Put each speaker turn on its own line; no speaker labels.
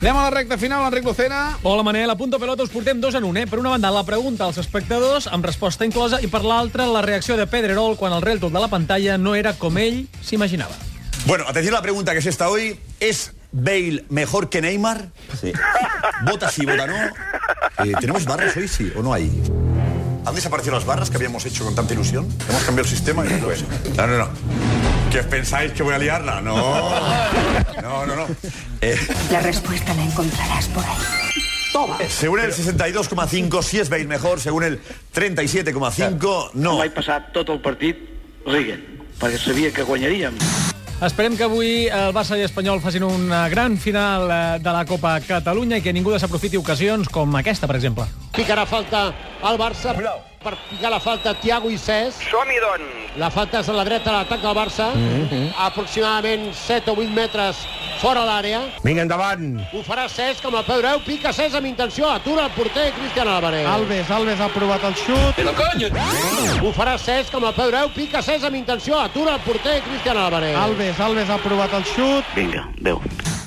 Anem a la recta final, Enric Lucena.
Hola, Manel. A punta pelota us portem dos en un, eh? Per una banda, la pregunta als espectadors, amb resposta inclosa, i per l'altra, la reacció de Pedrerol quan el real tot de la pantalla no era com ell s'imaginava.
Bueno, atención a la pregunta que es esta hoy. ¿Es Bale mejor que Neymar?
Sí.
Vota sí, vota no. Eh, ¿Tenemos barras hoy, sí o no hay? ¿Han desaparecido las barras que habíamos hecho con tanta ilusión? Hemos cambiado el sistema y no es. No, no, no. ¿Que os pensáis que voy a liarla? No. No, no, no. Eh,
La respuesta la encontrarás por ahí.
según el 62,5 sí es Bale mejor, según el 37,5 no.
Vaig passar tot el partit rient, perquè sabia que guanyaríem.
Esperem que avui el Barça i Espanyol facin una gran final eh, de la Copa Catalunya i que ningú desaprofiti ocasions com aquesta, per exemple.
Ficarà falta al Barça. Per ficar la falta Tiago i Cesc.
Som-hi, doncs.
La falta és a la dreta de l'atac del Barça. Mm -hmm. Aproximadament 7 o 8 metres fora l'àrea.
Vinga, endavant.
Ho farà Cesc amb el peu dreu. Pica Cesc amb intenció. Atura el porter Cristian Álvarez.
Alves, Alves ha provat el xut.
Ho farà Cesc amb el peu dreu. Pica Cesc amb intenció. Atura el porter Cristian Álvarez.
Alves, Alves ha provat el xut.
Vinga, adéu.